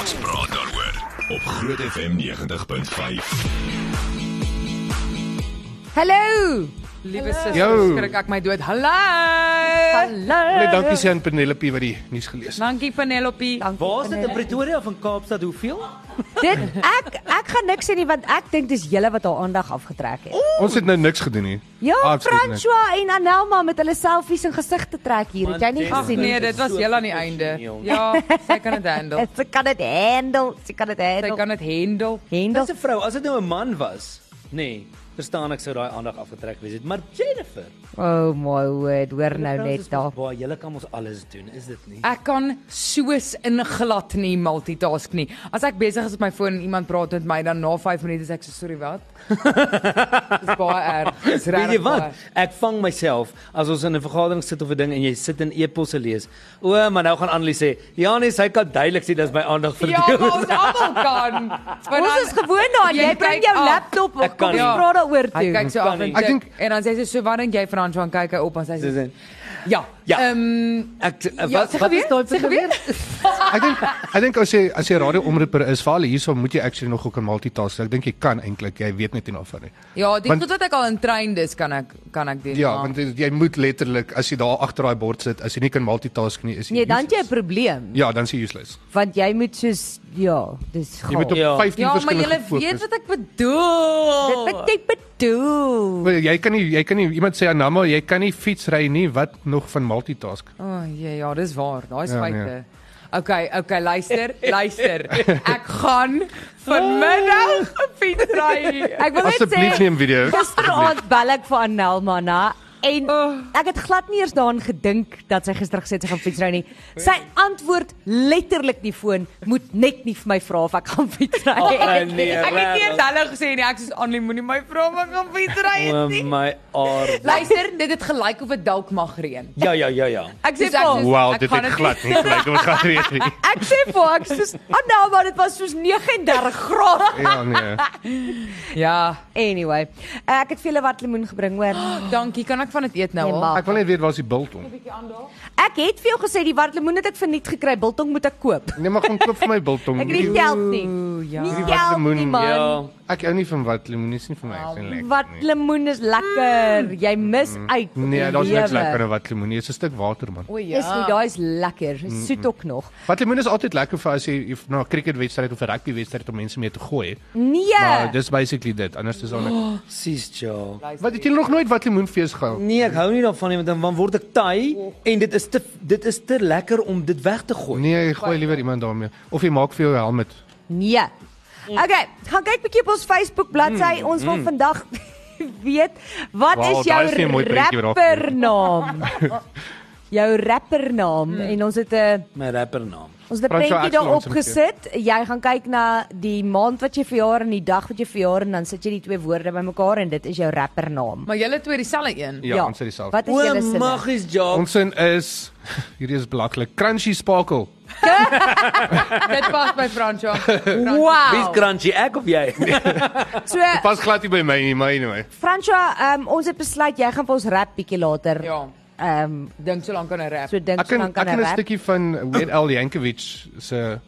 Ons praat daaroor op Groot FM 90.5. Hallo. Liewe Yo. susters, skrik ek my dood. Hallo. Net Hallo. dankie sê aan Penelope wat die nuus gelees het. Dankie Penelope. Waar is dit in Pretoria of in Kaapstad hoeveel? Dit ek ek gaan niks sê nie want ek dink dis julle wat haar aandag afgetrek het. Ons het nou niks gedoen nie. Ja, Absoluut niks. François en Anelma met hulle selfies en gesigte trek hier. Het jy nie Ag gesien nie? nee, dit was heel aan die einde. Ja, sy kan dit handle. Sy kan dit handle. Sy kan dit Sy handle. kan dit handle. Handle. Dis 'n vrou, as dit nou 'n man was, nê, nee, verstaan ek sou daai aandag afgetrek wees het, maar Jennifer. Oh my word, hoor nou net daar. Waar jy kan ons alles doen, is dit nie? Ek kan soos inglad nie multitask nie. As ek besig is met my foon en iemand praat met my dan na 5 minute is ek so sorry wat. Dis baie erg. Dis Weet jy regtig wat? baie. Ek vang myself as ons in 'n vergadering sit of 'n ding en jy sit en e-posse lees. O, maar nou gaan Annelie sê, "Ja nee, sy kan duidelik sien dis my aandag Ja, verdeel." maar ons almal kan. Want Ons dan- is gewoond daaraan. Jy Jy bring kyk jou af. laptop Ek op kan kom nie. jy praat daaroor ja. Hy kyk toe. so Kan af nie. en Ek check, dink- en dan sê sy so wat dink jy van Antoine kyk hy op en sy sê Dis in. ja. Ja. Ehm Ek ja, wat sê wat is geweet? daai Sê punt weer? Ek dink ek dink as jy as jy radioomroeper is, veral hierso moet jy actually nog ook kan multitask. Ek dink jy kan eintlik, jy weet net nie daarvan nie. Ja, die Want- goed wat ek al in trein dis kan ek kan ek doen. Ja, maar- want jy- jy moet letterlik as jy daar agter daai bord sit, as jy nie kan multitask nie, is jy Nee, dan het jy 'n useless. probleem Ja, dan is jy useless. want jy moet soos ja, dis Jy moet gaaf. op Ja. 15 Ja, maar verskillende jy fokus. weet wat ek bedoel. Dit wat jy bedoel. Wel, jy kan nie jy kan nie iemand sê Anama, jy kan nie fietsry nie, wat nog van multitask? O, oh, ja, ja, dis waar. Daai is Ja, feite. nee. Okay, okay, luister, luister. Ek gaan vanmiddag gefiets ry. Ek wil net Asseblief sê neem video. Gisteraand bel ek vir Annelma na en Oh. ek het glad nie eers daaraan gedink dat sy gister gesê het sy gaan fietsry nie. Sy antwoord letterlik die foon moet net nie vir my vra of ek gaan fietsry Oh, nie. nee, Ek het nie regtig. eens hulle gesê nie. Ek sê Annelie moenie my vra om ek gaan fiets ry O nie. my aard. Luister, dit het gelyk of dit dalk mag reën. Ja ja ja ja. Ek sê Dis ek vir- soos- Wow, ek dit gaan het glad nie gelyk om gaan weet nie. Ek sê vir haar, ek sê Annelma dit was soos 39 grade. Ja nee. Ja, Anyway, ek het vir julle wat lemoen gebring hoor. Oh. dankie. Kan ek van dit eet nou Nee, al? maar- Ek wil net weet waar's die biltong? Ek het vir jou gesê die wat lemoen het ek verniet gekry, biltong moet ek koop. Nee, maar gaan koop vir my biltong. Ek weet nie geld nie. Ooh, ja. Nie Hierdie geld watlemoen, nie man. Ja. Ek hou nie van wat lemoen is nie vir my is nie lekker. Wat nie. lemoen is lekker. Jy mis uit. op Nee, die daar's niks lewe. lekker aan wat lemoen nie. Dit is 'n stuk water man. O ja. Is nie daai is lekker. Is Soet ook nog. Wat lemoen is altyd lekker vir as jy if- na 'n cricketwedstryd of 'n rugbywedstryd om mense mee te gooi. Nee. Maar dis basically Nou, dit. Anders is daar Oh. niks. Sis ja. Wat het jy nog nooit wat lemoenfees gehou? Nee, ek hou nie daarvan nie want dan dan word ek taai en dit is te dit is te lekker om dit weg te gooi. Nee, jy gooi liewer iemand daarmee of jy maak vir jou 'n helmet. Nee. Mm. Okay, gaan kyk bietjie op ons Facebook bladsy. Ons wil vandag weet wat Mm, Wauw, is daar is nie jou 'n mooi prentjie wat daar rappernaam? jou Mm. rappernaam en ons het 'n My rapper naam. ons het 'n Francois prentjie daarop Axel, ons het gesit. Jy gaan kyk na die maand wat jy verjaar en die dag wat jy verjaar en dan sit jy die twee woorde bymekaar en dit is jou rappernaam. Maar julle twee dieselfde een. Ja, ons het dieselfde. Wat is julle O, sin? magies job. Ons sin is hierdie is belaglik. Crunchy sparkle. Dit pas by Francois. Wie's Wow. crunchy ek of jy? So Pas glad nie by my nie, my anyway. Francois, um, ons het besluit jy gaan vir ons rap bietjie later. Ja, Ehm um, dink so lank aan 'n rap. so dink Ek so kan dan ek kan hy kan 'n rap. stukkie van Weird Al Yankovic se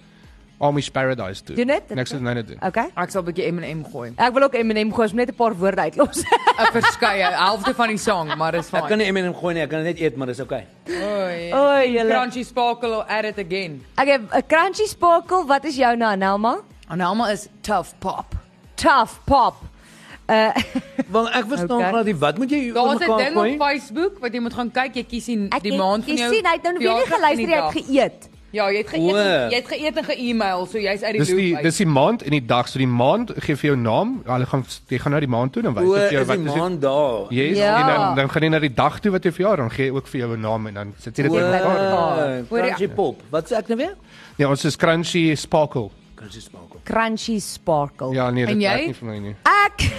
Amish Paradise doen. Doen dit? Niks is nou net doen. Okay. Ek sal 'n bietjie M&M gooi. Ek wil ook Eminem gous net 'n paar woorde uitlos. 'n Verskeie helfte van die song, maar dis Ek kan fyn. nie M&M gooi nie, ek kan dit net eet, maar dis okay. Oei. O, julle. Crunchy sparkle or at it again. Okay, 'n crunchy sparkle, wat is jou nou, Nelma? Anelma is tough pop. Tough pop. Uh Want ek verstaan Okay. okay. glad nie wat moet jy Daar's 'n mekaar ding gooi? op Facebook wat jy moet gaan kyk. Jy kies die, ek die het- maand van Jy jou. sien, hy het nou weer nie verjaardag en die geluister, hy het dag. geëet. Ja, jy het geëet. Wow. en- Jy het geëet en ge-email, so jy's uit die Dis loop. die uit. dis die maand en die dag. So die maand gee vir jou naam. Hulle gaan jy gaan nou die maand toe dan wys O, dit vir jou is wat is die dit. maand daar. Yes, Ja. ja. en dan dan gaan jy na die dag toe wat jy verjaar, dan gee jy ook vir jou 'n naam en dan sit jy dit O, in mekaar. Hoor jy- Crunchy pop. Wat sê ek nou weer? Ja, ons is crunchy sparkle. Crunchy smoke. Crunchy sparkle. Ja, nee, En dit jy? werk nie vir my nie. Ek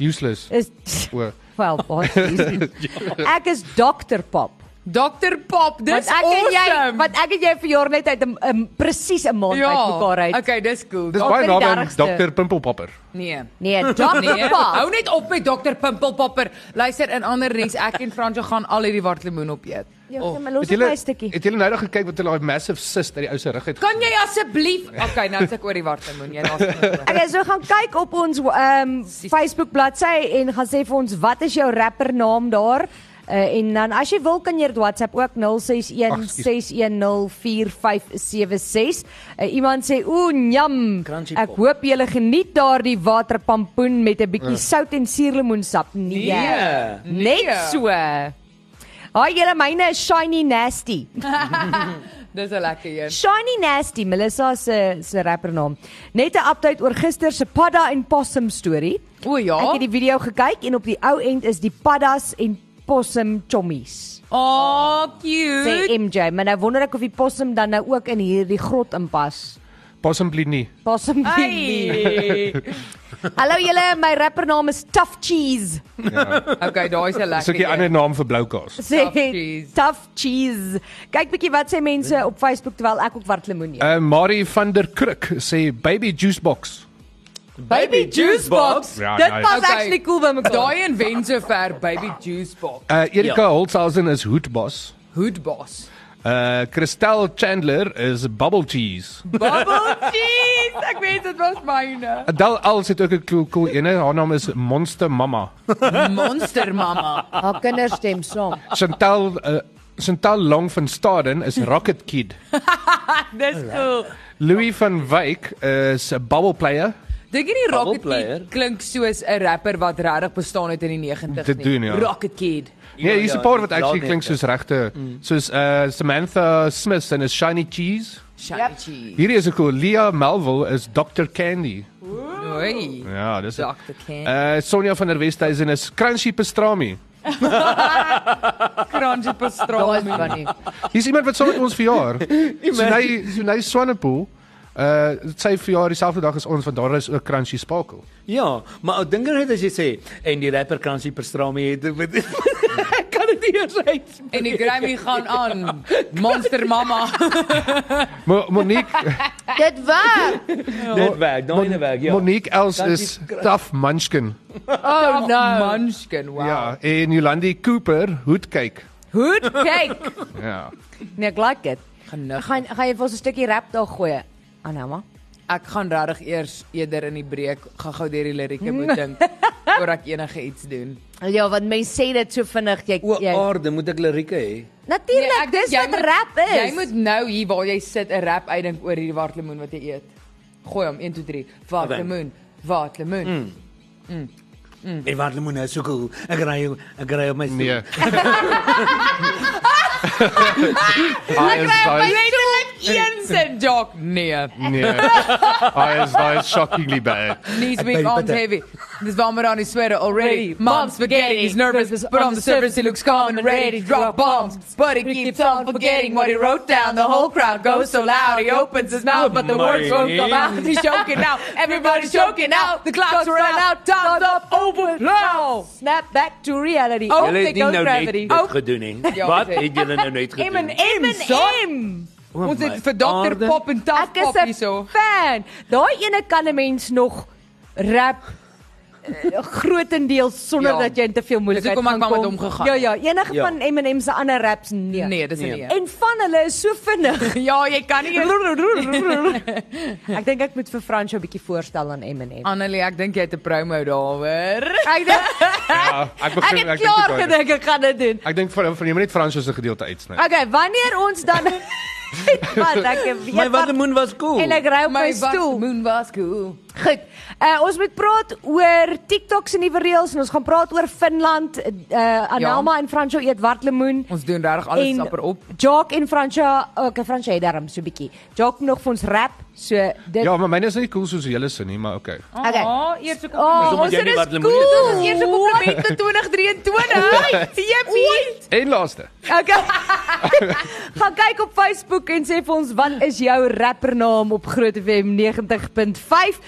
Useless. is O. wel baie. Ek is Dr Pop. Dr Pop. Want Dis ek en jy, awesome. want ek en jy verjaar net uit 'n um, presies 'n maand uit mekaar uit. Okay, dis cool. Dis Dalk baie vir die naby aan 30ste. Dr Pimpelpapper. Nee. Nee, Dr Nee, Pop. hou net op met Dr Pimpelpopper. Luister in ander res, ek en Franco gaan al hierdie wartlemoen op eet. Jy moet Ja, los Oh. Het dit julle my stukkie. het julle nou nog gekyk wat hulle daai massive cyst uit die ou se rug het? Kan jy asseblief Okay, nou sê ek oor die wartemoen, jy laat my. oor. Okay, so gaan kyk op ons ehm Facebook bladsy en gaan sê vir ons wat is jou rapper naam daar? Uh, en dan as jy wil kan jy dit WhatsApp ook Ag, 061 6104576. Uh, iemand sê o, njam. Crunchy Ek pop." hoop julle geniet daardie waterpampoen met 'n bietjie sout en suurlemoensap. Nee. Nee, Net nee. so. Haai julle myne is shiny nasty. Dis 'n lekker een. Shiny Nasty, Melissa se se rapper naam. Net 'n update oor gister se padda en possum storie. O ja. Ek het die video gekyk en op die ou end is die paddas en possum chommies. Oh, Sê cute. MJ, maar nou wonder ek of die possum dan nou ook in hierdie grot inpas. Possibly nie. Possum Billy. Ai. Hallo julle, my rapper naam is Tough Cheese. Okay, daai is 'n lekker. Dis ook 'n ander naam vir bloukaas. Sê Tough Cheese. Ja. Tough Cheese. Kyk bietjie wat sê mense op Facebook terwyl ek ook wartlemoen eet. Uh Marie van der Kruk sê baby juice box. Baby juice box. Ja, Dit nice. was Okay. actually cool by mekaar. Daai en wen so ver baby juice box. Uh Erika ja. Ja. Holzhausen is hoedbos. Hood boss. Uh Christel Chandler is bubble cheese. Bubble cheese. Ek weet dit was myne. Adel Els het ook 'n cool cool ene. Haar naam is Monster Mama. Monster mamma. Haar kinders stem saam. Chantal uh, Chantal Long van Staden is Rocket Kid. Dis cool. Louis van Wyk is 'n bubble player. Dink jy die Bubble Rocket player? Kid klink soos 'n rapper wat regtig bestaan het in die 90's Dit nie? doen, ja. Rocket Kid. Nee, hier's 'n paar wat ja, Mm. actually laat klink net, soos regte soos uh Samantha Smith en is Shiny Cheese. Shiny yep. cheese. Hierdie is 'n cool. Leah Melville is Dr Candy. Oei. Ja, dis Dr. Ken. Uh, Uh Sonja van der Westhuizen is Crunchy Pastrami. Crunchy Daai pastrami. is van nie. Hier's iemand wat saam met ons verjaar. Sunay Sunay Swanepoel. Uh sy verjaar dieselfde dag as ons want daar is ook Crunchy Spakel. Ja, maar ou dinger het as jy sê en die rapper Crunchy Pastrami het met Ek kan dit nie eens uit. En die Grammy gaan aan. Monster Mama. Mo Monique Dit werk. Net weg, nou in die weg, ja. Monique Els Crunchy- is Tough Munchkin. Oh no. Munchkin. Wow. Ja, en Jolandi Cooper hoedkyk. Hoed kyk. Ja. Nee, ek like dit. Genoeg. Gaan gaan jy vir ons 'n stukkie rap daar gooi? Anama. Ek gaan regtig eers eerder in die breek gaan gou deur die lirieke moet dink voor ek enige iets doen. Ja, want mense sê dit so vinnig jy O jy. aarde, moet ek lirieke hê? Natuurlik, ek- dis jy wat moet- rap is. Jy moet nou hier waar jy sit 'n rap uitdink oor hierdie wartlemoen wat jy eet. Gooi hom 1 2 3. Wartlemoen. Wartlemoen. Mm. En wat moet nou so cool? Ek ry jou, ek ry op my Nee. Ek Hy kry is daai letterlik een sin joke. Nee. nee. Hy is daai shockingly bad. Knees weak, arms heavy. This vomit on his sweater already. Mom's spaghetti. He's nervous, but on the surface he looks calm and ready to drop bombs. But he keeps on forgetting what he wrote down. The whole crowd goes so loud. He opens his mouth, but the words won't come out. He's choking out. Everybody's choking out. The clock's run out. Time's up. Over now. snap back to reality. Oh, Julle het nie Take nou out net gravity. Oh, dit Ook- gedoen nie. Ja, Wat dit- het julle nou net gedoen? M son. M. O Ons het my vir Dr aarde. Pop en Taff Ek Pop is 'n hierso. fan. Daai ene kan 'n mens nog rap eh, grootendeels sonder Ja. ja. dat jy in te veel moeilikheid hoekom ek gaan maar met kom. hom gegaan Ja ja, enige ja. Ja. van Eminem se ander raps nee. Nee, dis nie. Nee. En van hulle is so vinnig. Ja, jy kan nie ek dink ek moet vir Fransjo 'n bietjie voorstel aan Eminem. Annelie, ek dink jy het 'n promo daaroor. Ek dink Ja, ek ek begin het ek dink klaar dit kan. gedink ek gaan dit doen. Ek dink van van jy moet net Frans se gedeelte uitsny. Okay, wanneer ons dan Wat ek weet Ja, My watermoon was cool. en ek ry op my stoel. moon was cool. Goed. Uh ons moet praat oor TikToks en die reels en ons gaan praat oor Finland. Uh Anelma ja. en Franco eet wartlemoen. Ons doen regtig alles En- sapper op. Jock en Franco, okay, Franco het darm so bietjie. Jock nog vir ons rap. So dit Ja, maar myne is nie cool soos julle se nie, maar okay. Okay. Oh, eers ek Oh, Hoekom het ons jy dit nie is wartlemoen cool. Dit gedoen is eers 'n kompliment vir 2023. Jippie. En laaste. Okay. Gaan kyk op Facebook en sê vir ons wat is jou rappernaam op Groot FM 90.5.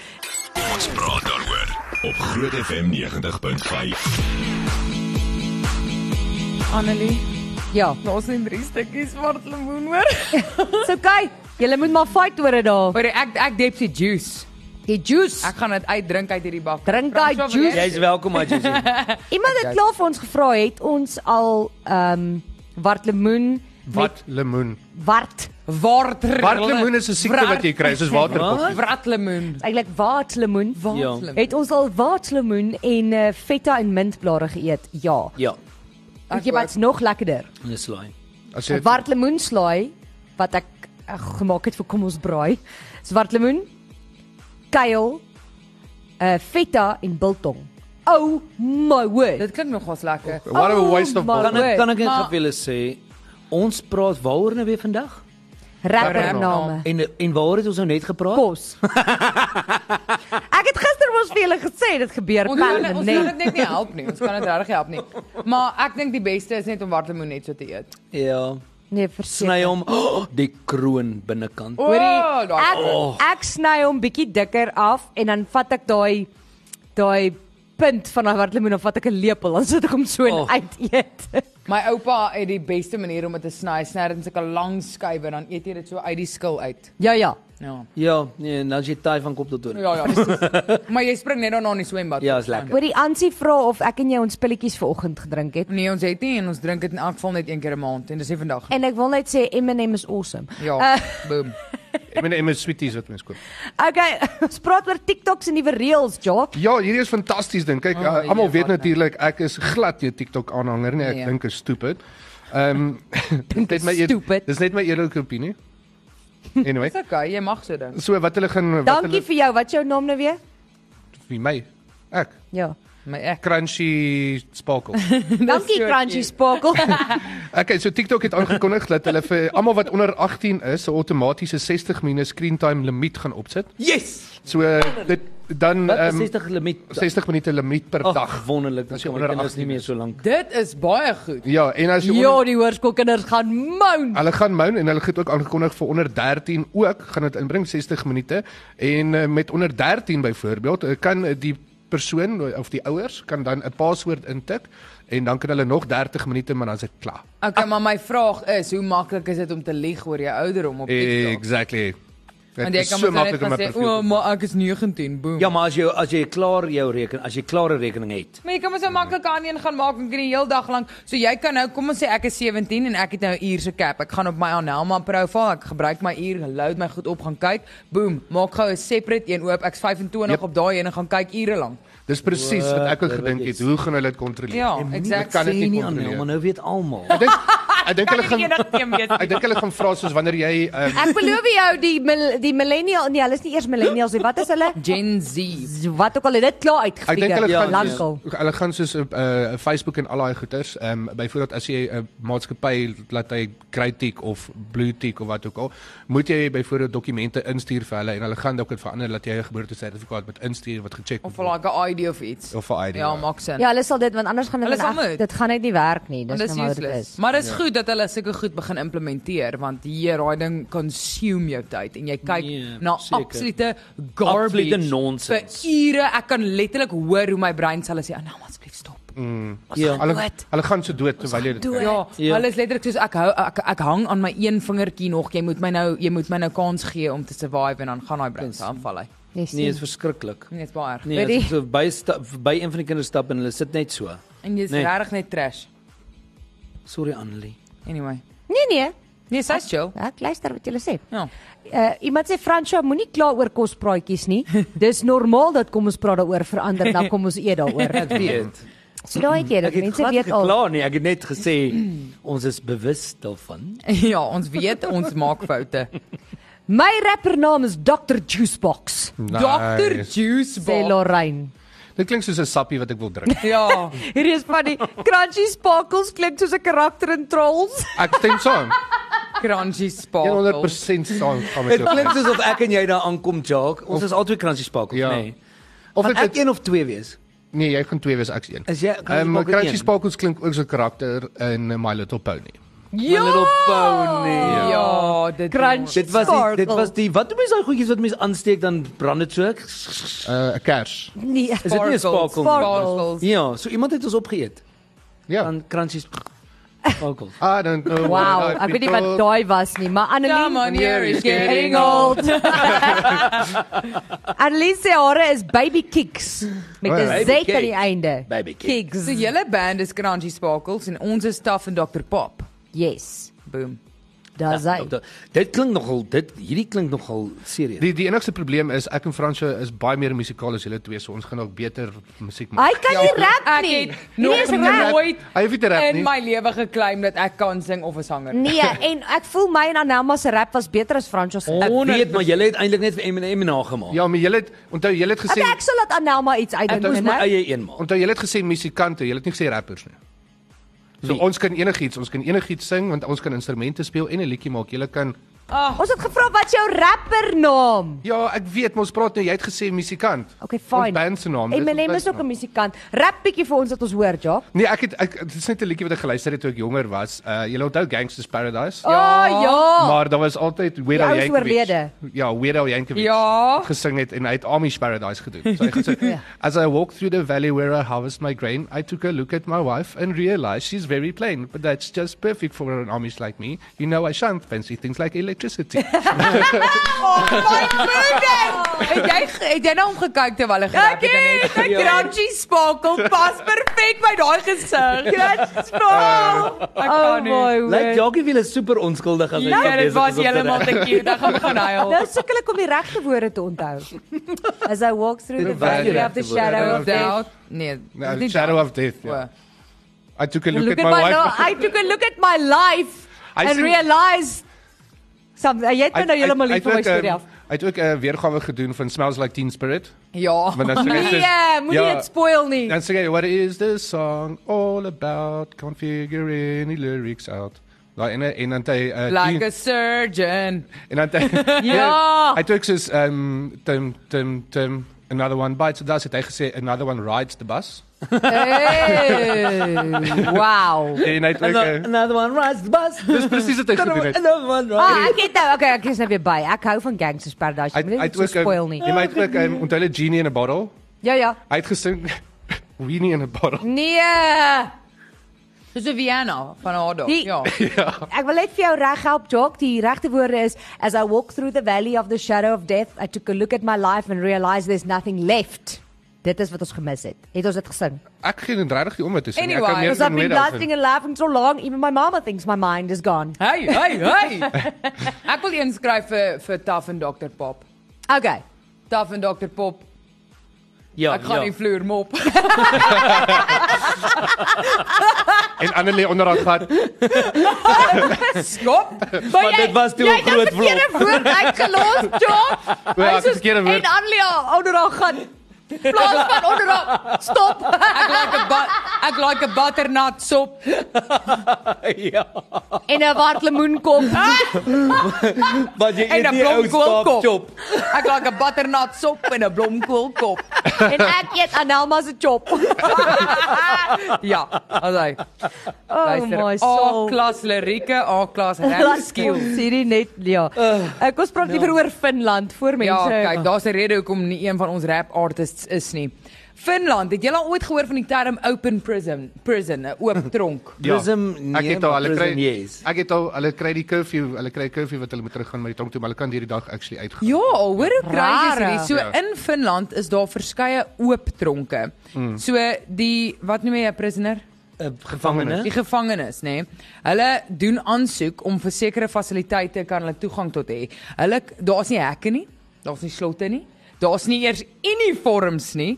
Ons praat daaroor op Groot FM 90.5. Annelie, Ja, daar's net drie stukkies wartlemoen hoor. dis okay. Julle moet maar fight oor dit daar. Maar ek ek dep die juice. Die juice. Ek gaan dit uitdrink uit hierdie bak. Drink Franswa, daai wil juice. Ja, Jy's welkom, Adjie. Iemand het klaar vir ons gevra het ons al ehm um, Wart lemoen met Wat lemoen? wart. Water. Wart lemoen is 'n siekte wat jy kry, soos waterkoppie. Watlemoen. Eintlik waart lemoen. Ja. Het ons al waart lemoen en uh, feta en mintblare geëet? Ja. Ja, Weet jy wat's nog lekkerder? dis slaai. As 'n jy Wart lemoenslaai wat ek uh, gemaak het vir kom ons braai. Swart lemoen, kale, uh, feta en biltong. Oh my word. Dit klink nogals lekker. What a Oh waste of my bottle. Kan ek kan ek net Maar- gou vir julle sê ons praat waaroor nou weer vandag? Rappername. En en waaroor het ons nou net gepraat? Kos. ek het gister mos vir julle gesê dit gebeur Ons kan kan ons kan dit net. net nie help nie. Ons kan dit regtig help nie. Maar ek dink die beste is net om watlemoen net so te eet. Ja. Nee, Sny verseker. hom oh, Ja. die kroon binnekant. O, Hoorie, Oh, daar- ek ek sny hom bietjie dikker af en dan vat ek daai daai punt van daai wartlemoen of vat ek 'n lepel dan sit ek hom so in Oh. oh. uit eet. My oupa het die beste manier om dit te sny. Hy Sny dit in sulke lang skywe dan eet jy dit so uit die skil uit. ja ja. Ja. Ja, nee, nou as jy taai van kop tot toe. Ja ja, presies. maar jy spring net daarna in die swembad. Ja, is lekker. Hoor die Ansie vra of ek en jy ons pilletjies vanoggend gedrink het. Nee, ons het nie en ons drink dit in elk geval net een keer 'n maand en dis nie vandag. En ek wil net sê M&M is awesome. Ja, Uh, uh, boom. Ek meen emmer sweeties wat mens koop. okay, ons praat oor TikTok se nuwe reels, Job. Ja, hierdie is fantasties ding. Kyk, Oh, oh, jee, almal weet wat nou? natuurlik ek is glad nie 'n TikTok aanhanger nie. Nee. Ek nee. dink is stupid. Ehm um, Dink dit is my eer- stupid. dis net my eerlike opinie. Anyway, Dis okay, jy mag so dink. so wat hulle gaan wat Dankie hulle vir jou. Wat is jou naam nou weer? vir my. Ek Ja. Maar ek crunchy sparkle. Dankie so Crunchy cute. Sparkle. Okay, so TikTok het aangekondig dat hulle vir almal wat onder 18 is, 'n outomatiese 60 minute screen time limiet gaan opsit. Yes. So eh, dit dan Wat ehm um, um, 60 limiet. 60 minute limiet per dag. Ag, wonderlik. Dis jy kom onder ek ken ons 18 nie meer so lank. Dit is baie goed. Ja, en as jy onder- ja, die hoërskoolkinders gaan moun. Hulle gaan moun en hulle het ook aangekondig vir onder 13 ook gaan dit inbring 60 minute en eh, met onder 13 byvoorbeeld eh, kan eh, die persoon eh, of die ouers kan dan 'n paswoord intik en dan kan hulle nog 30 minute maar dan is dit klaar. Okay, maar my vraag is, hoe maklik is dit om te lieg oor jou ouderdom op TikTok? Exactly. Want jy Dit is kan so maar net maklik om gaan 'n sê, profiel. "O, te- maar ek is 19." Boom. Ja, maar as jy as jy klaar jou reken, as jy klare rekening het. Maar jy kan mos so maklik aan een gaan maak en kan die heel dag lank. So jy kan nou kom ons sê ek is 17 en ek het nou 'n uur se cap. Ek gaan op my Anelma profile, ek gebruik my uur, load my goed op, gaan kyk. Boom, maak gou 'n separate een oop. Ek's 25 Yep. op daai een en gaan kyk ure lank. Dis presies wat ek ook Wow, gedink dit het. is- Hoe gaan hulle dit kontroleer? Ja, Oh, Ek exact. kan dit Sê nie aan nou, maar kontroleer. nou weet almal. Ek dink ek dink hulle gaan een weet. ek dink hulle gaan vra soos wanneer jy ehm, Ek beloof jou die mil- die millennial, nee, hulle is nie eers millennials nie. Wat is hulle? Gen Z. Wat ook al het dit klaar Ek dink uitgefigure. hulle Ja, gaan nee. lankal. hulle gaan soos op uh, Facebook en al daai goeters. Ehm um, byvoorbeeld as jy 'n maatskappy laat hy grey tick of blue tick of wat ook al, moet jy byvoorbeeld dokumente instuur vir hulle en hulle gaan ook dit verander dat jy 'n geboortesertifikaat moet instuur wat gecheck Of moet word. like 'n ID of iets. of vir ID. Ja, maak sin. Ja, hulle sal dit want anders gaan Hulle dit sal moet. dit gaan net nie werk nie. Want Dis Dis nou maar hoe dit useless. is. Maar Ja. dis goed dat hulle sulke goed begin implementeer want hier daai ding consume jou tyd en jy kyk Nee, na seker. absolute garbage Absolute nonsens. Vir ure ek kan letterlik hoor hoe my brein sal sê, "Ah, "Nou, maar asseblief stop." Ja. Hulle Dood. hulle gaan so dood terwyl jy dit Dood. kry. Ja, Ja. ja, hulle is letterlik soos ek hou ek, ek hang aan my een vingertjie nog. Jy moet my nou jy moet my nou kans gee om te survive en dan gaan daai brein se aanval hy. Yes, Nee, is verskriklik. Nee, dit's baie erg. Nee, Weet as so by stap by een van die kinders stap en hulle sit net so. En jy's Nee. nee. regtig net trash. Sorry Annelie. Anyway. nee, nee. Nee, sy's chill. Ek luister wat jy sê. Ja. Uh, iemand sê Fransjo moenie kla oor kospraatjies nie. Dis normaal dat kom ons praat daaroor verander dan kom ons eet daaroor. Ek weet. So daai keer dat Ek het mense glad nie weet al. geklaar nie, ek het net gesê ons is bewus daarvan. ja, ons weet ons maak foute. My rappernaam is Dr Juicebox. Nice. Dr. Juice Sê Bar. Lorraine. Dit klink soos 'n sappie wat ek wil drink. Ja. Hierdie is van die crunchy sparkles klink soos 'n karakter in Trolls. Ek stem saam. Ja, Crunchy sparkle. 100% saam gaan met Dit jou. klink asof ek en jy daar aankom, Jacques. Ons is albei kransie spakkels, Ja. ja. nê. Nee. Of Of dit ek dit een of twee wees. nee, jy gaan twee wees ek's een. Is jy Ehm um, Crunchy sparkels? Sparkles klink ook so 'n karakter in eh, My Little Pony. Ja. Little pony. Ja. Ja, dit Crunch. Dit was die, dit Sparkle. was die wat doen mense daai goedjies wat mense aansteek dan brand dit so. Uh, 'n kers. Nee. Is dit nie 'n sparkle nie? Sparkles. Ja, so iemand het ons opgeëet Ja. aan crunchy spakkels. I don't know. Oh, Wow, what ek I've weet nie been wat told. daai was nie, maar Annelie Come on, here is getting old. Annelie se hare is baby kicks met 'n Z Baby aan die kicks. einde. Baby kicks. kicks. So julle band is Crunchy Sparkles en ons is Stuff en Dr Pop. Yes. Boom. Daar Ja, sy. op die- Dit klink nogal dit hierdie klink nogal serieus. Die die enigste probleem is ek en Fransjo is baie meer musikaal as julle twee, so ons gaan dalk beter musiek Hy maak. kan nie rap Ja, Ek nie. het Hierdie is nog rap. nooit Hy het dit reg in nie. my lewe geklim dat ek kan sing of 'n sanger. Nee, en ek voel my en Anelma se rap was beter as Francois se. Ek rap. weet maar jy het eintlik net vir Eminem nagemaak. Ja, maar julle het onthou julle het gesê Okay, ek sal laat Anelma iets ek moes uitdink, my né? eie een maak. onthou julle het gesê musikante, julle het nie gesê rappers nie. So Wie? ons kan enigiets, ons kan enigiets sing want ons kan instrumente speel en 'n liedjie maak. Julle kan Ja. Ons het gevra wat jou rapper naam. Ja, ek weet, maar ons praat nou jy het gesê musikant. Okay, Ons fine. band se naam. dit is Eminem ons is band ook se 'n naam. musikant. Rap bietjie vir ons dat ons hoor, Jock. Nee, ek het ek dit is net 'n liedjie wat ek geluister het toe ek jonger was. Uh jy onthou Gangsters Paradise? O ja. Maar daar was altyd Weird Die ou Al is Yankovic. oorlede. Ja, Weird Al Yankovic Ja. gesing het en hy het Amish Paradise gedoen. So hy het gesê Ja. As I walked through the valley where I harvest my grain, I took a look at my wife and realized she's very plain, but that's just perfect for an Amish like me. You know I shan't fancy things like electricity. Oh, Het jy het jy nou omgekyk terwyl ek Ja, gerap het net? het, ek het. Crunchy sparkle pas perfek by daai gesig. Yes, Ja. no. Ek Oh kan nie. Oh Lyk Jackie Wiel is super onskuldig as hy Ja, so Nou, dit besig was is om te heeltemal rap. te cute. Dan gaan ek gaan huil. Nou sukkel ek om die regte woorde te onthou. As I walk through the Dit was die valley of regte the woorde. Ja, shadow Shadow of of death. Doubt. Nee, No, dis nie Nou, shadow doubt. of ja. death. Yeah. O. I took a look, Look at my wife. no, I took a look at my life Hy and sien- realized some jy het my nou heeltemal lief vir my storie af. Hy het ook 'n weergawe gedoen van Smells Like Teen Spirit. Ja. Want dan sê hy Nee, soos- eh, moenie Ja. dit spoil nie. Dan sê hy what is this song all about? Can't figure any lyrics out. Daai ene en dan het hy uh, Like teen, a surgeon. en dan het hy Ja. Hy het ook soos um tum tum tum another one bites the dust het hy gesê another one rides the bus. Hey, wow. En hy het ook Ano- uh, Another one rides the bus. dis presies wat hy gedoen het. Another one rides. Ah, ek het nou, okay, ek is nou weer by. Ek hou van Gangsters Paradise. Hy Jy het- hy Moet het dit nie ook um, spoil nie. en hy het ook um, onthou hulle genie in 'n bottle. Ja ja. Hy het gesing weenie in 'n bottle. Nee. Dis 'n Vienna van haar dog. Die- Ja. Ek wil net vir jou reg help, Jock. Die regte woorde is as I walk through the valley of the shadow of death, I took a look at my life and realized there's nothing left. Dit is wat ons gemis het. Het ons dit gesing? Ek gee dit regtig om wat te sê. nie. Anyway, ek Because I've kan meer been daarvan. blasting and laughing so long, even my mama thinks my mind is gone. Hey, hey, hey. Ek wil inskryf vir vir Taff en Dr Pop. Okay. Taff en Dr Pop. Ja, Ek gaan die vloer mop. en ander lê onder haar gat. Ja, Skop. Maar Oh, dit was toe 'n groot vlog. woord uitgelos, Jock. Wel, ek het verkeerde woord. En Anlia onder haar gaan. Plaas van onder haar. Stop. Ek like 'n but, ek like 'n butternut sop. Ja. En 'n wart lemoenkop. Maar En jy eet 'n nie ou blomkoolkop. staap chop. Ek like 'n butternut sop en 'n blomkoolkop. en ek eet Anelma se chop. Ja, alai. Oh my soul. A-klas lirieke, A-klas rap Laat skiel. skill. Hierdie net ja. Ek ons praat liewer oor Finland voor Ja, mense. kyk, daar's 'n rede hoekom nie een van ons rap artists is nie. Finland, het julle al ooit gehoor van die term open prison? Prison, 'n oop tronk. Prism, ek nee, het al maar hulle kry prism, yes. ek het al hulle kry die curfew, hulle kry curfew wat hulle moet teruggaan met die tronk toe, maar hulle kan hierdie dag actually uitgaan. Ja, hoor hoe crazy is Rare. hierdie. So Ja. in Finland is daar verskeie oop tronke. So die wat noem jy 'n prisoner? 'n Gevangene. Die gevangenes, nê. Nee, hulle doen aansoek om vir sekere fasiliteite kan hulle toegang tot hê. Hulle daar's nie hekke nie, daar's nie slotte nie. Daar's nie eers uniforms nie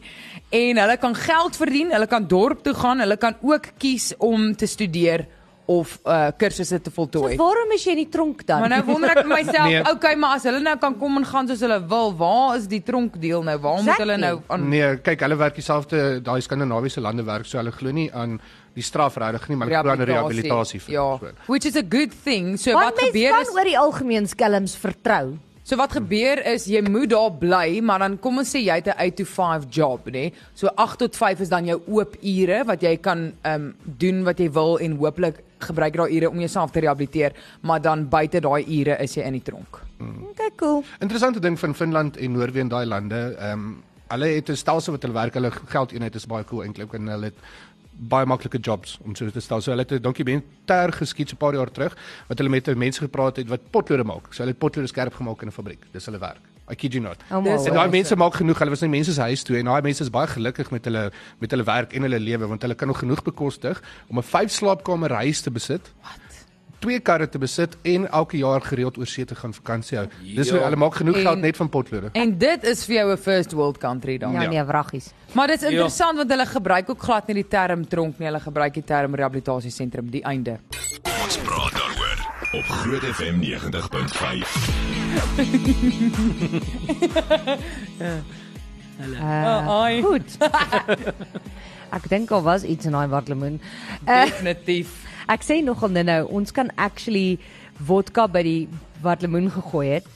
en hulle kan geld verdien, hulle kan dorp toe gaan, hulle kan ook kies om te studeer of uh kursusse te voltooi. Waarom is jy in die tronk dan? Maar nou wonder ek vir myself, Nee. nee. okay, maar as hulle nou kan kom en gaan soos hulle wil, waar is die tronkdeel nou? Waar moet hulle nou aan Nee, kyk, hulle werk dieselfde daai Skandinawiese lande werk, so hulle glo nie aan die strafregtig nie, maar hulle glo aan rehabilitasie vir Ja, persoon. which is a good thing. So Want wat mense gebeur kan is oor die algemeen skelms vertrou. So wat gebeur is jy moet daar bly, maar dan kom ons sê jy het 'n 8 to 5 job, nê? So 8 tot 5 is dan jou oop ure wat jy kan ehm um, doen wat jy wil en hooplik gebruik daai ure om jouself te rehabiliteer, maar dan buite daai ure is jy in die tronk. Okay, cool. Interessante ding van Finland en Noorwe en daai lande, ehm um, hulle het 'n stelsel wat hulle werk, hulle geldeenheid is baie cool eintlik en hulle het baie maklike jobs om so te stel. So hulle het 'n dokumentêr geskiet so 'n paar jaar terug wat hulle met mense gepraat het wat potlode maak. So hulle het potlode skerp gemaak in 'n fabriek. Dis hulle werk. I kid you not. Oh my en word. daai mense maak genoeg. Hulle was nie mense se huis toe en daai mense is baie gelukkig met hulle met hulle werk en hulle lewe want hulle kan nog genoeg bekostig om 'n vyf slaapkamer huis te besit. Wat? twee karre te besit en elke jaar gereeld oor see te gaan vakansie hou. Dis hoe hulle maak genoeg en, En- geld net van potlode. En dit is vir jou 'n first world country dan. Ja, nee, wraggies. Maar dit Ja. is interessant want hulle gebruik ook glad nie die term tronk nie, hulle gebruik die term rehabilitasiesentrum die einde. Ons praat daaroor op Groot FM 90.5. Uh, ai. Goed. ek dink daar was iets in daai watlemoen. Uh, Definitief. Ek sê nogal nou-nou, ons kan actually vodka by die wat lemoen gegooi het.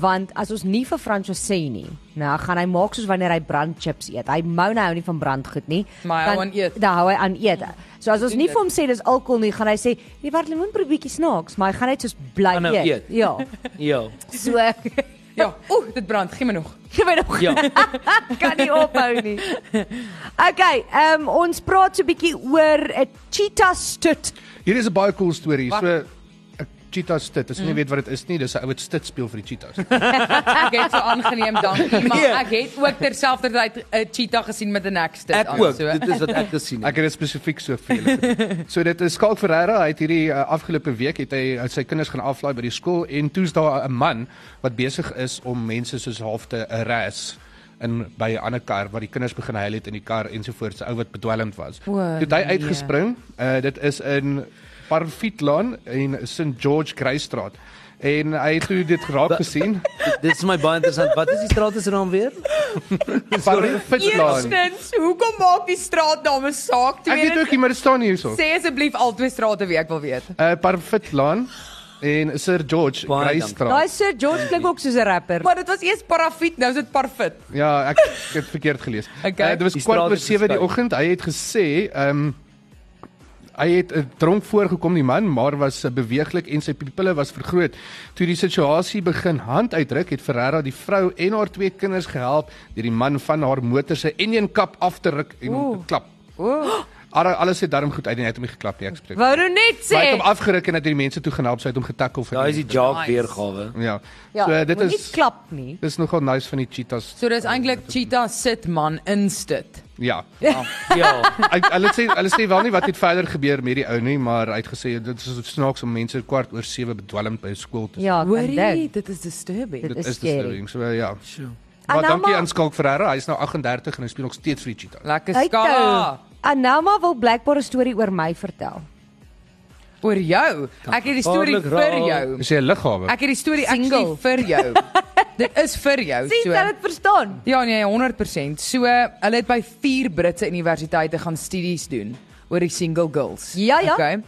Want as ons nie vir Franco sê nie, nou gaan hy maak soos wanneer hy brandchips eet. Hy mou nou nie van brandgoed nie. Maar hy hou dan- aan eet. Dan hou hy aan eet. So as ons Doen nie dit. vir hom sê dis alkohol nie, gaan hy sê, "Jy wat lemoen probeer bietjie snaaks," maar hy gaan net soos bly nou Aanhou eet. eet. Ja. Ja. So ek Ja, Oh, oeh, dit brand, gee my nog. gee my nog Ja. kan nie ophou nie. Okay, ehm um, ons praat so 'n bietjie oor 'n cheetah stut. Hier is 'n baie cool storie. So 'n cheetah stit. As jy nie weet wat dit is nie, dis 'n ou wat stit speel vir die cheetahs. Ek het so aangeneem dankie, maar Nee. ek het ook terselfdertyd 'n cheetah gesien met 'n nekstip Ek ook. Dit is wat ek Nee. gesien het. Ek het dit spesifiek so vir julle. so dit is Skalk Ferreira, hy het hierdie uh, afgelope week het hy uh, sy kinders gaan aflaai by die skool en toe's daar 'n man wat besig is om mense soos half te arrest in by 'n ander kar waar die kinders begin huil het in die kar ensovoorts, 'n ou wat bedwelmd was. O, Toe het hy nee. uitgespring. Uh, dit is in Parfietlaan en St George Greystraat. En hy het toe dit raak gesien. Dit is my baie interessant. Wat is die straat se naam weer? Parfietlaan. Eerstens, hoekom maak die straatname saak? Ek weet ook nie, maar dit staan hierso. sê asseblief al twee strate wie ek wil weet. Uh, Parfietlaan en Sir George Baie Greystraat. Daai Sir George klink ook soos 'n rapper. Maar dit was eers parafiet, nou is dit parfit. Ja, ek ek het verkeerd gelees. Okay. Eh, dit was Die kwart straat oor is 7 die geskuif. oggend. Hy het gesê, ehm um, hy het eh, dronk voorgekom die man, maar was eh, beweeglik en sy pupille was vergroot. Toe die situasie begin hand uitdruk, het Ferreira die vrou en haar twee kinders gehelp deur die man van haar motor se Indian kap af te ruk en hom te klap. Ooh. Ara- Alles het daarom goed uit en hy het hom nie geklap nie, ek spreek. Wou nou net Maar hy het sê. hom afgeruk en het die mense toe gehelp, sy het hom getackle vir. Daai Ja, Nou is die job Nice. weergawe. Ja. Ja, So dit moet nie is klap nie. dis nogal nice van die cheetahs. So dis eintlik cheetah sit man instit. Ja. Ja. Hy- hulle sê hulle sê wel nie wat het verder gebeur met die ou nie, maar hy het gesê dit is snaaks om mense kwart oor 7 bedwelmend by 'n skool te Ja, kan Hoorie, dit. dit is disturbing. Dit Dit is is scary. disturbing. So ja. Ah, Maar nou dankie maar- aan Skalk Ferreira, hy's nou 38 en hy speel nog steeds vir die Cheetahs. Lekker skala. Uitou. eh, Anama wil blykbaar 'n storie oor my vertel. Oor jou. Ek het die storie Gevaarlik vir raak. jou. Is jy 'n liggawe? Ek het die storie Single. actually vir jou. Dit is vir jou. Sien so. dat dit verstaan. Ja nee, 100%. So hulle het by vier Britse universiteite gaan studies doen oor die single girls. Ja, ja. Okay. I'm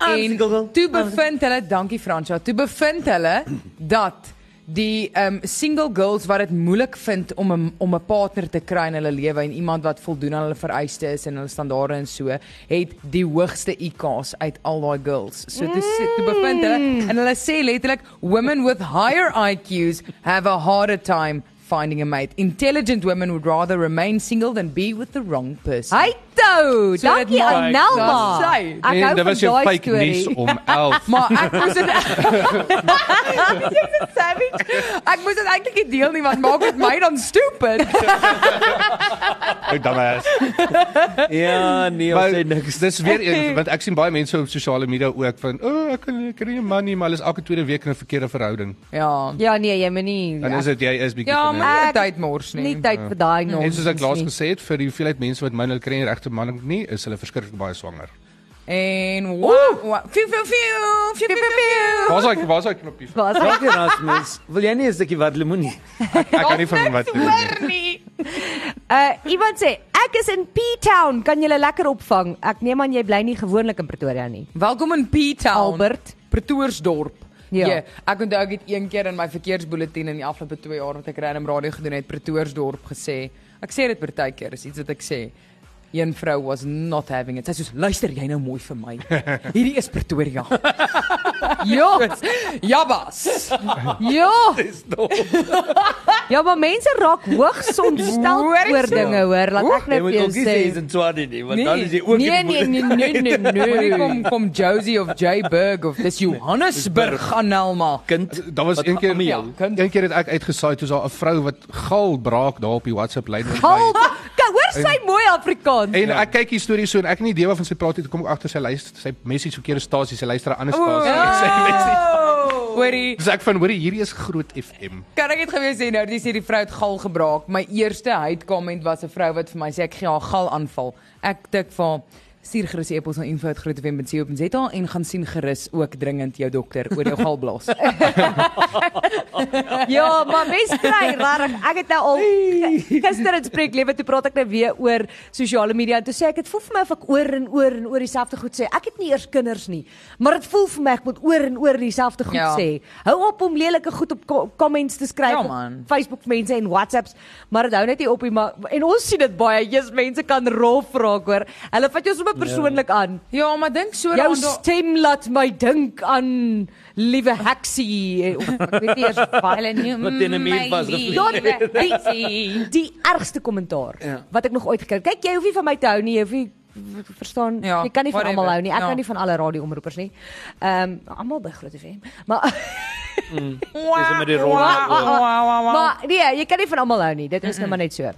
En single girl. toe bevind hulle, dankie Fransja, toe bevind hulle dat die um single girls wat dit moeilik vind om 'n om 'n partner te kry in hulle lewe en iemand wat voldoen aan hulle vereistes is en hulle standaarde en so, het die hoogste IQ's uit al daai girls. So toe sit toe bevind hulle en hulle sê letterlik women with higher IQ's have a harder time finding a mate. Intelligent women would rather remain single than be with the wrong person. Hytou. So dit Dankie maak- Anama. Dis sy. Ek hou dit van was jou daai fake storie. nuus om 11. Maar ek moes dit Jy's 'n savage. Ek moes dit eintlik nie deel nie want maak dit my dan stupid. Ek dan is. Ja, nee, ons Maar sê niks. dis weer eens want ek sien baie mense op sosiale media ook van o, oh, ek kan ek kan nie 'n man nie, maar hulle is elke tweede week in 'n verkeerde verhouding. Ja. Ja nee, jy moet nie. Dan is dit jy is bietjie Ja, van maar nie Ek- tyd mors nie. nie tyd vir daai nog. En soos ek laas gesê het, vir die hoeveelheid mense wat myne kry en regte man nie, is hulle verskriklik baie swanger. En wow, wow. Fiu fiu fiu. Fiu fiu fiu. Waar's daai waar's daai knoppie? vir? was Dankie Erasmus. Wil jy nie 'n stukkie wat lemoen nie? Ek kan nie van wat doen nie. Hoor nie. Uh iemand sê ek is in P-town, kan julle lekker opvang? Ek neem aan jy bly nie gewoonlik in Pretoria nie. Welkom in P-town. Albert. Pretoria-dorp. Ja. Ja, ek onthou ek het een keer in my verkeersbulletin in die afgelope 2 jaar wat ek random radio gedoen het, Pretoria-dorp gesê. Ek sê dit partykeer, is iets wat ek sê. Een vrou was not having it. Sy sê soos, "Luister jy nou mooi vir my. Hierdie is Pretoria." Ja, Jabbas. ja. Ja, maar mense raak hoogs ontstel Hoor jy oor so? dinge hoor, laat ek Jy net moet vir jou ook nie sê is sê. in Swati nie, want Nee. dan is jy ook Nee nee nee nee nee nee. Hier kom kom Josie of Jayburg of dis Johannesburg Anelma. kind. Daar was Wat een keer gaan met ja, jou? een keer het ek uitgesaai toe is daar 'n vrou wat gal braak daar op die WhatsApp lyn. Gal, kyk hoor Hoe sê mooi Afrikaans? En ek kyk hier stories so en ek het nie idee waarvan sy praat nie. Toe kom ek agter sy lys, sy message verkeerde stasie, sy luister 'n ander stasie. en Sy message. Oh. Hoorie, Dis ek van hoor hierdie is groot FM. kan ek dit gewees sê nou, dis hierdie vrou het gal gebraak. My eerste hate-comment was 'n vrou wat vir my sê ek gee haar gal aanval. Ek tik vir haar, stuur gerus e-pos na info@grootewim.co.za en gaan sien gerus ook dringend jou dokter oor jou galblaas. Ja, maar mens kry rarig. Ek het nou al gister in spreek lewe toe praat ek nou weer oor sosiale media en toe sê ek dit voel vir my of ek oor en oor en oor dieselfde goed sê. Ek het nie eers kinders nie, maar dit voel vir my ek moet oor en oor dieselfde goed Ja. sê. Hou op om lelike goed op ko comments te skryf Ja, op man. Facebook mense en WhatsApps, maar dit hou net nie op nie, maar en ons sien dit baie. Jesus, mense kan rof raak hoor. Hulle vat jou sommer persoonlik aan. ja, maar dink so Jou daar- stem laat my dink aan liewe Hexie of ek weet nie eers baie nie. Wat teen 'n muur vasgevlieg. Ja, nee. die, die, die ergste kommentaar Ja. wat ek nog ooit gekry het. Kyk, jy hoef nie van my te hou nie, jy hoef nie verstaan Ja, jy kan nie van whatever. almal hou nie. Ek Ja. hou nie van alle radioomroepers nie. Ehm um, almal by Groot FM. Maar Dis met die ronde. maar nee, jy kan nie van almal hou nie. Dit is nou maar net so.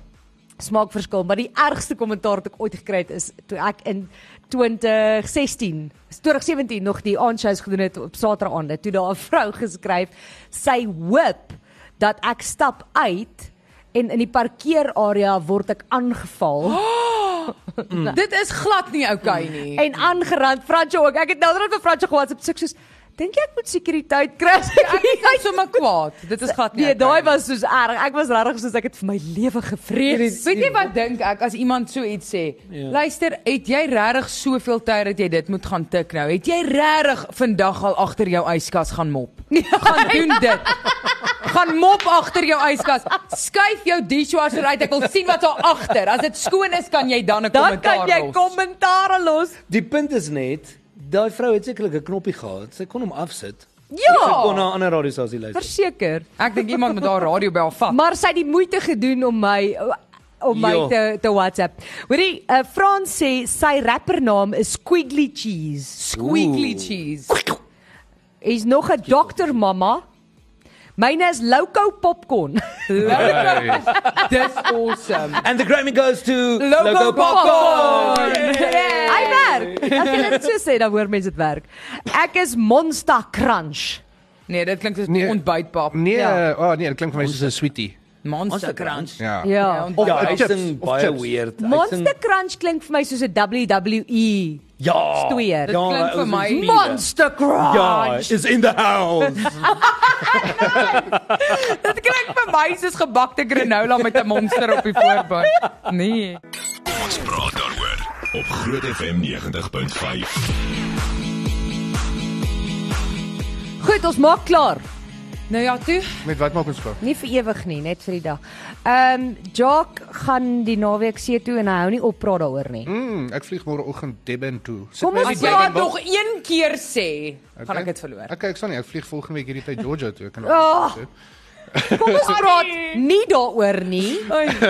Smaakverskil, maar die ergste kommentaar wat ek ooit gekry het is toe ek in 2016, 2017 nog die aanshows gedoen het op Saterdagaande, toe daar 'n vrou geskryf, sy hoop dat ek stap uit en in die parkeerarea word ek aangeval. Dit is glad nie oukei nie. en aangerand Fransjo ook. Ek het nou net vir Fransjo gewhatsapp soek soos dink jy ek moet sekuriteit kry. as ek Ek hier is Ja, nou sommer kwaad. Dit is glad nie. Nee, oukei daai nie. was soos erg. Ek was regtig soos ek het vir my lewe gevrees. Weet jy wat dink ek as iemand so iets sê? Ja. Luister, het jy regtig soveel tyd dat jy dit moet gaan tik nou? Het jy regtig vandag al agter jou yskas gaan mop? gaan doen dit. Gaan mop agter jou yskas. Skuif jou dishwasher uit. Ek wil sien wat daar agter. As dit skoon is, kan jy dan 'n Dan kommentaar kan jy los. kommentare los. Die punt is net, daai vrou het sekerlik 'n knoppie gehad. Sy kon hom afsit. Sy kon na Ja, 'n ander radiostasie luister. verseker. Ek dink iemand moet daai radiobel vat. Maar sy het die moeite gedoen om my om my Ja. te te WhatsApp. Hoorie, uh, Frans sê sy rappernaam is Squiggly Cheese. Squeaky cheese. Hy's nog 'n dokter mamma. Myne is Loco Popcorn. Hey. Dis awesome. And the Grammy goes to Loco Loco Popcorn. Popcorn. Yay! Hy werk. As jy dit so sê, dan hoor mense dit werk. Ek is Monster Crunch. Nee, dit klink soos Nee. ontbytpap. Nee, Ja. ja. oh nee, dit klink vir my soos 'n sweetie. Monster crunch. Ja. Ja. Ja, Of ja, Of hy chips, sing of baie chips. weird. Hy sing- Monster Crunch klink vir my soos 'n WWE. ja, Stoeier. Ja, Dit klink hy vir is my- een spier. E. Monster Ja, Crunch. is in the house. Dit klink vir my soos gebakte granola met 'n monster op die voorbaan. Nee. Ons praat daaroor op Groot FM 90.5. Goed, ons maak klaar. Nou ja, toe. Met wat maak ons vir? Nie vir ewig nie, net vir die dag. Ehm um, Jock gaan die naweek see toe en hy hou nie op praat daaroor nie. Mm, ek vlieg môre oggend Durban toe. Sit Kom my in ons die As jy praat Durban dit bus. nog een keer sê, Okay. gaan ek dit verloor. Okay, ek sal nie, ek vlieg volgende week hierdie tyd Georgia toe. Ek kan Oh. so. Kom ons praat nie daaroor nie.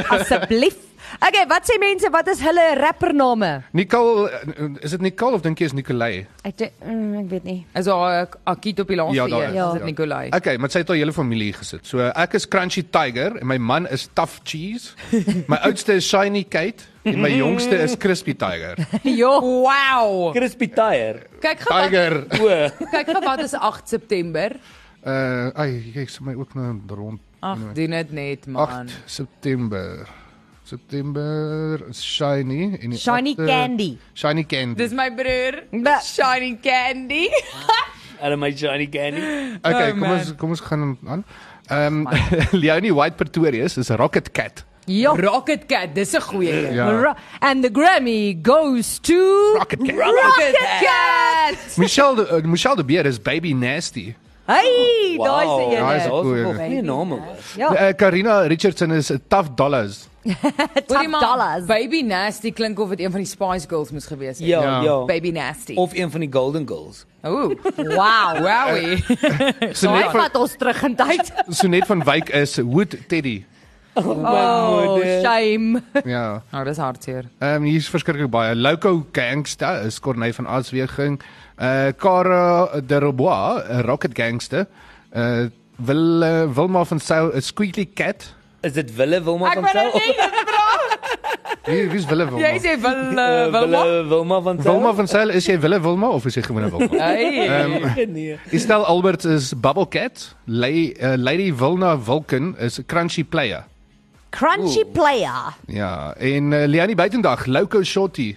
Asseblief. Okay, wat sê mense, wat is hulle rappername? Nicole, eh, is dit Nicole of dink jy is Nicolai? Ek dink- mm, ek weet nie. Is daar 'n akiet op die laaste Ja, ja, daar eer? is, Ja. Is dit ja. Nikolai? Okay, maar sy het al hele familie gesit. So ek is Crunchy Tiger en my man is Tough Cheese. My oudste is Shiny Kate en my jongste is Crispy Tiger. Jo, Ja. wow. Crispy tire. Kyk gou wat Tiger. O. kyk gou wat is 8 September. Uh, ai, jy sê my ook nou rond. Ag, doen dit net man. 8 September. September is Shiny en die Shiny achtste- Candy. Shiny Candy. Dis my broer. Ba- Shiny Candy. Hulle my Johnny Candy. okay, oh, kom ons man. kom ons gaan hom aan. Ehm um, Leonie White Pretorius is 'n Rocket Cat. Ja. Rocket Cat, dis 'n goeie een. Ja. Ra- And the Grammy goes to Rocket Cat. Rocket Cat. Michelle de, uh, Michelle de Beer is Baby Nasty. Hey, daai se Daai is jy. een goeie. Nee, normaal. Oh. Ja. Uh, Karina Richardson is 'n Tough Dollars. Hoorie maar, dollars. Baby Nasty klink of dit een van die Spice Girls moes gewees het. Ja, Ja. ja. Baby Nasty. Of een van die Golden Girls. Ooh. Wow. Wowie. Sonet van vat ons terug in tyd. Sonet van Wyk is Wood Teddy. Oh, shame. Ja. Nou, dis hartseer. Ehm um, hier's verskriklik baie. Loco Gangster is Corney van Aasweging. Uh Cara de Rebois, 'n Rocket Gangster. Uh Wil uh, Wilma van Sail is Squeaky Cat. Is dit Wille Wilma van Sail? nie vra. Wie wie's Wille Wilma? Jy sê wil eh, Wilma. Wille- Wilma van Sail? Wilma van Sail, is jy Wille Wilma of is jy gewone Wilma? Hey. Ehm. nee. Estel Albert is Bubble Cat. Lady, uh, Lady Wilna Wilken is 'n Crunchy Player. Crunchy player. Ja, en uh, Leonie Buitendag, Loco Shotty.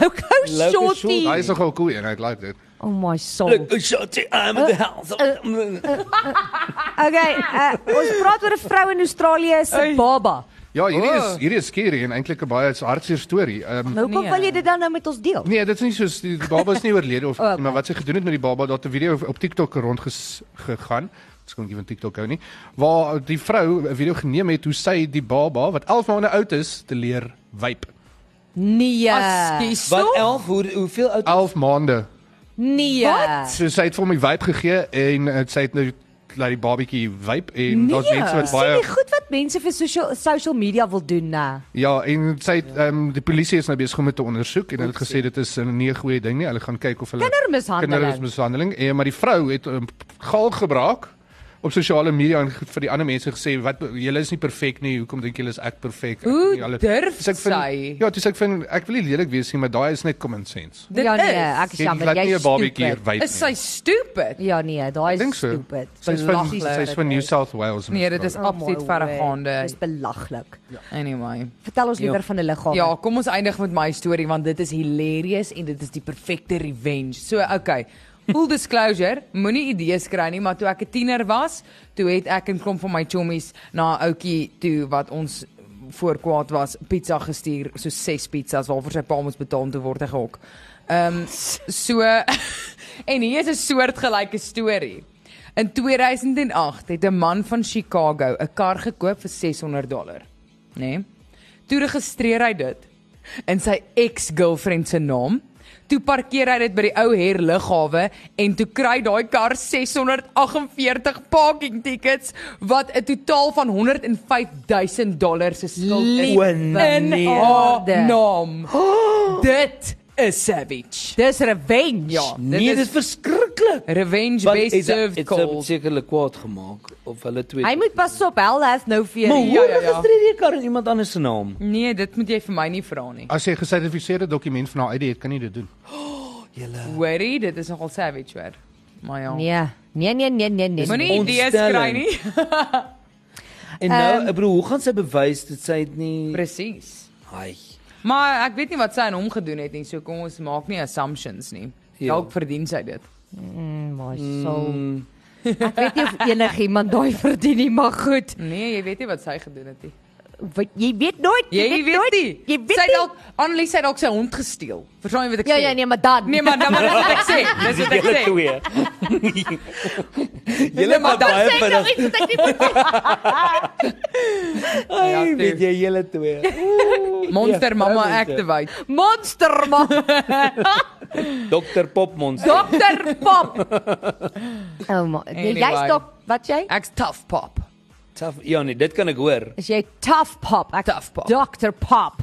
Loco Loco shorty. Hy is nogal cool en I like dit. Oh my soul. Look, shorty, I'm at the house. Okay, uh, ons praat oor 'n vrou in Australië se Hey. baba. Ja, hierdie Oh. is hierdie is skerry en eintlik 'n baie hartseer storie. Um, Ah. Nou kom Nee. wil jy dit dan nou met ons deel? Nee, dit is nie so die baba is nie oorlede of O, Oh, okay. maar wat sy gedoen het met die baba, daar het 'n video op TikTok rond ges, gegaan. Ek kon nie van TikTok hou nie. Waar die vrou 'n video geneem het hoe sy die baba wat 11 maande oud is te leer wyp. Nee. Askies. Wat 11 hoe hoeveel oud 11 maande. Nee. Wat? So sy het vir my wyp gegee en uh, sy het nou laat die babatjie wyp en Nee. daar's mense wat baie Sien jy goed wat mense vir social social media wil doen, né? Ja, en sy het, ehm um, die polisie is nou besig om dit te ondersoek en hulle het gesê dit is eh, nie 'n goeie ding nie. Hulle gaan kyk of hulle Nee, Kindermishandeling. Kindermishandeling. En eh, maar die vrou het um, gaal gebraak op sosiale media en ge- vir die ander mense gesê wat julle is nie perfek nie. Hoekom dink julle is ek perfek? Ek Hoe doen nie alles." durf Ja, Dis ek vind- sy? Ja, dis ek vind ek wil nie lelik wees nie, maar daai is net common sense. Dit ja nee, is. ek is Jy jammer, laat nie jy 'n babatjie hier stupid. wyp nie. Is sy stupid? Ja nee, daai Ek dink is so. stupid. Sy's van Belaglik. sy's van New South Wales. in Nee, dit is Oh Australië. my absoluut word. verregaande. Dis belaglik. Anyway. Vertel ons Ja. liewer van 'n liggaam. Ja, kom ons eindig met my storie want dit is hilarious en dit is die perfekte revenge. So, okay. Full disclosure, moenie idees kry nie, maar toe ek 'n tiener was, toe het ek 'n klomp van my chommies na 'n ouetjie toe wat ons voor kwaad was, pizza gestuur, so 6 pizzas waarvoor sy pa ons betaal om te word gehok. Ehm um, so en hier is 'n soortgelyke storie. In 2008 het 'n man van Chicago 'n kar gekoop vir 600 dollar, nê? Nee? Toe registreer hy dit in sy ex-girlfriend se naam. Toe parkeer hy dit by die ou Her lughawe en toe kry daai kar 648 parking tickets wat 'n totaal van 105.000 dollar se skuld is Liewe in haar Nee. neerde. naam. Dit is savage. Dis revenge. Ja, dit Nee, dit is is verskriklik. revenge Want based is- served het sy cold. sekerlik kwaad gemaak of hulle twee. Hy moet pas op, hel het nou vir Maar jou. hoe ja, ja. registreer jy 'n kar in iemand anders se naam? Nee, dit moet jy vir my nie vra nie. As jy 'n gesertifiseerde dokument van haar uit het, kan jy dit doen. Worry, dit is nogal savage hoor. Maar ja. Nee. Nee nee nee nee nee. Moenie idees Ontstellend. kry nie. En nou, ek bedoel, hoe gaan sy bewys dat sy dit nie Presies. Ai. Maar ek weet nie wat sy aan hom gedoen het nie, so kom ons maak nie assumptions nie. Ja. Dalk verdien sy dit. Mm, my soul. Mm. Ek weet nie of enigiemand daai verdien nie, maar goed. Nee, jy weet nie wat sy gedoen het nie. Wat- Jy weet nooit. Jy, jy weet nooit. nie. Jy weet sy nie. dalk Annelies het dalk sy hond gesteel. Verstaan jy wat ek Ja sê? ja nee, maar dan. Nee, maar dan maar dis wat ek sê. Dis wat ek Julle sê. twee. Julle maar maar dan baie Sê nou vinnig. iets wat ek nie moet Ja, Ai, toe. weet jy julle twee. Oeh, Monster ja, mamma vrou mense. activate. monster man. Dr Pop Monster. Dokter Pop. Oh my. Anyway. Jy Anyway. stop. Wat jy? Ek's tough pop. Tough. Ja nee, dit kan ek hoor. Is jy tough pop? Ek Tough pop. Dr Pop.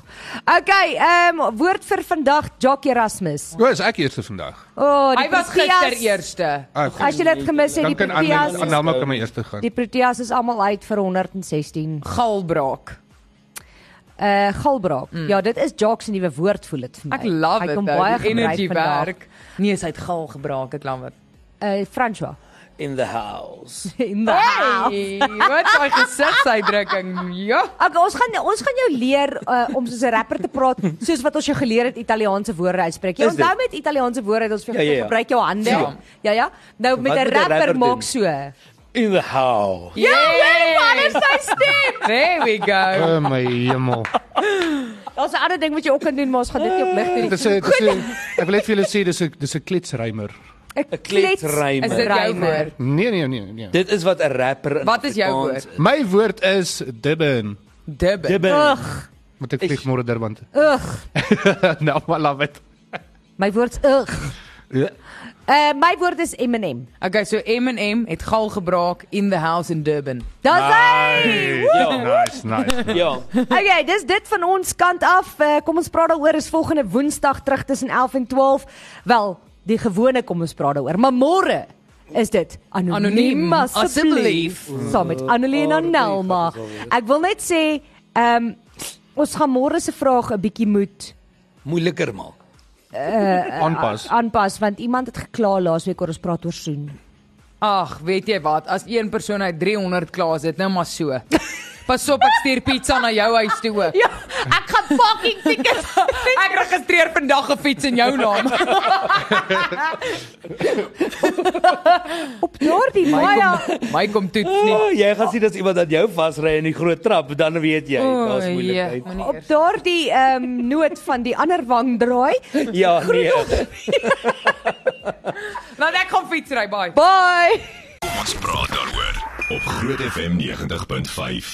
Okay, ehm um, woord vir vandag Jock Erasmus. O, is ek eerste vandag. O, oh, die Hy was gister Proteas- eerste. Ah, As jy dit gemis het, dan die kan Anna Proteas, Anna kan my eerste gaan. die Proteas is almal uit vir 116. Galbraak. Uh galbraak. Mm. Ja, dit is Jock se nuwe woord voel dit vir my. Ek love Hy dit. kom ou, baie die energy gebruik vandag. werk. Nee, sy het gal gebraak, ek lam dit. Uh François. In the house. In the house. Hey, wat 'n gesigsuitdrukking. Ja. Okay, ons gaan ons gaan jou leer uh, om soos 'n rapper te praat, soos wat ons jou geleer het Italiaanse woorde uitspreek. Jy Is dit? onthou met Italiaanse woorde het ons vir Ja, ja, jou ja. gebruik jou hande. Ja. Ja ja. Nou met Wat 'n moet 'n rapper rapper doen? maak so. In the house. Ja, nee, yeah. wat is sy stem? There we go. O my hemel. Daar's 'n ander ding wat jy ook kan doen, maar ons gaan dit nie oplig nie. Dis 'n dis 'n ek wil net vir julle sê dis 'n dis 'n kletsrymer. 'n klets Is rymer. dit jou Rymer. woord? Nee nee nee nee. Dit is wat 'n rapper in Wat is jou Afrikaans woord? is. My woord is Durban. Dibbe. Dibbel. Ugh, Moet ek vlieg Ek- môre Durban toe? ugh. nou maar laat dit. My woord's ugh. Ja. Uh my woord is M&M. Okay, so M&M het gal gebraak in the house in Durban. Dis hy. Ja, nice, nice. Ja. Okay, dis dit van ons kant af. Uh, kom ons praat daaroor is volgende Woensdag terug tussen 11 en 12. Wel, die gewone kom ons praat daaroor, maar môre is dit anoniem Anoniem, asseblief asseblief. saam met Annelien en Nelma. Ek wil net sê, ehm um, Ons gaan môre se vraag 'n bietjie moet moeiliker maak. aanpas. aanpas want iemand het gekla laasweek oor ons praat oor soen. Ag, weet jy wat? As een persoon uit 300 klaas het, nou maar so. Pas op, ek stuur pizza na jou huis toe. ook. Ja, ek gaan fucking tickets. Ek registreer vandag 'n fiets in jou naam. Op daardie baie My kom toets nie. Oh, jy gaan sien as iemand aan jou vasry in die groot trap, dan weet jy, O, daar's jee, moeilikheid. moenie op eers. daardie ehm noot van die ander wang draai. Ja, nee. Nou ek gaan fietsry, bye. Bye. Ons praat daaroor op Groot FM 90.5.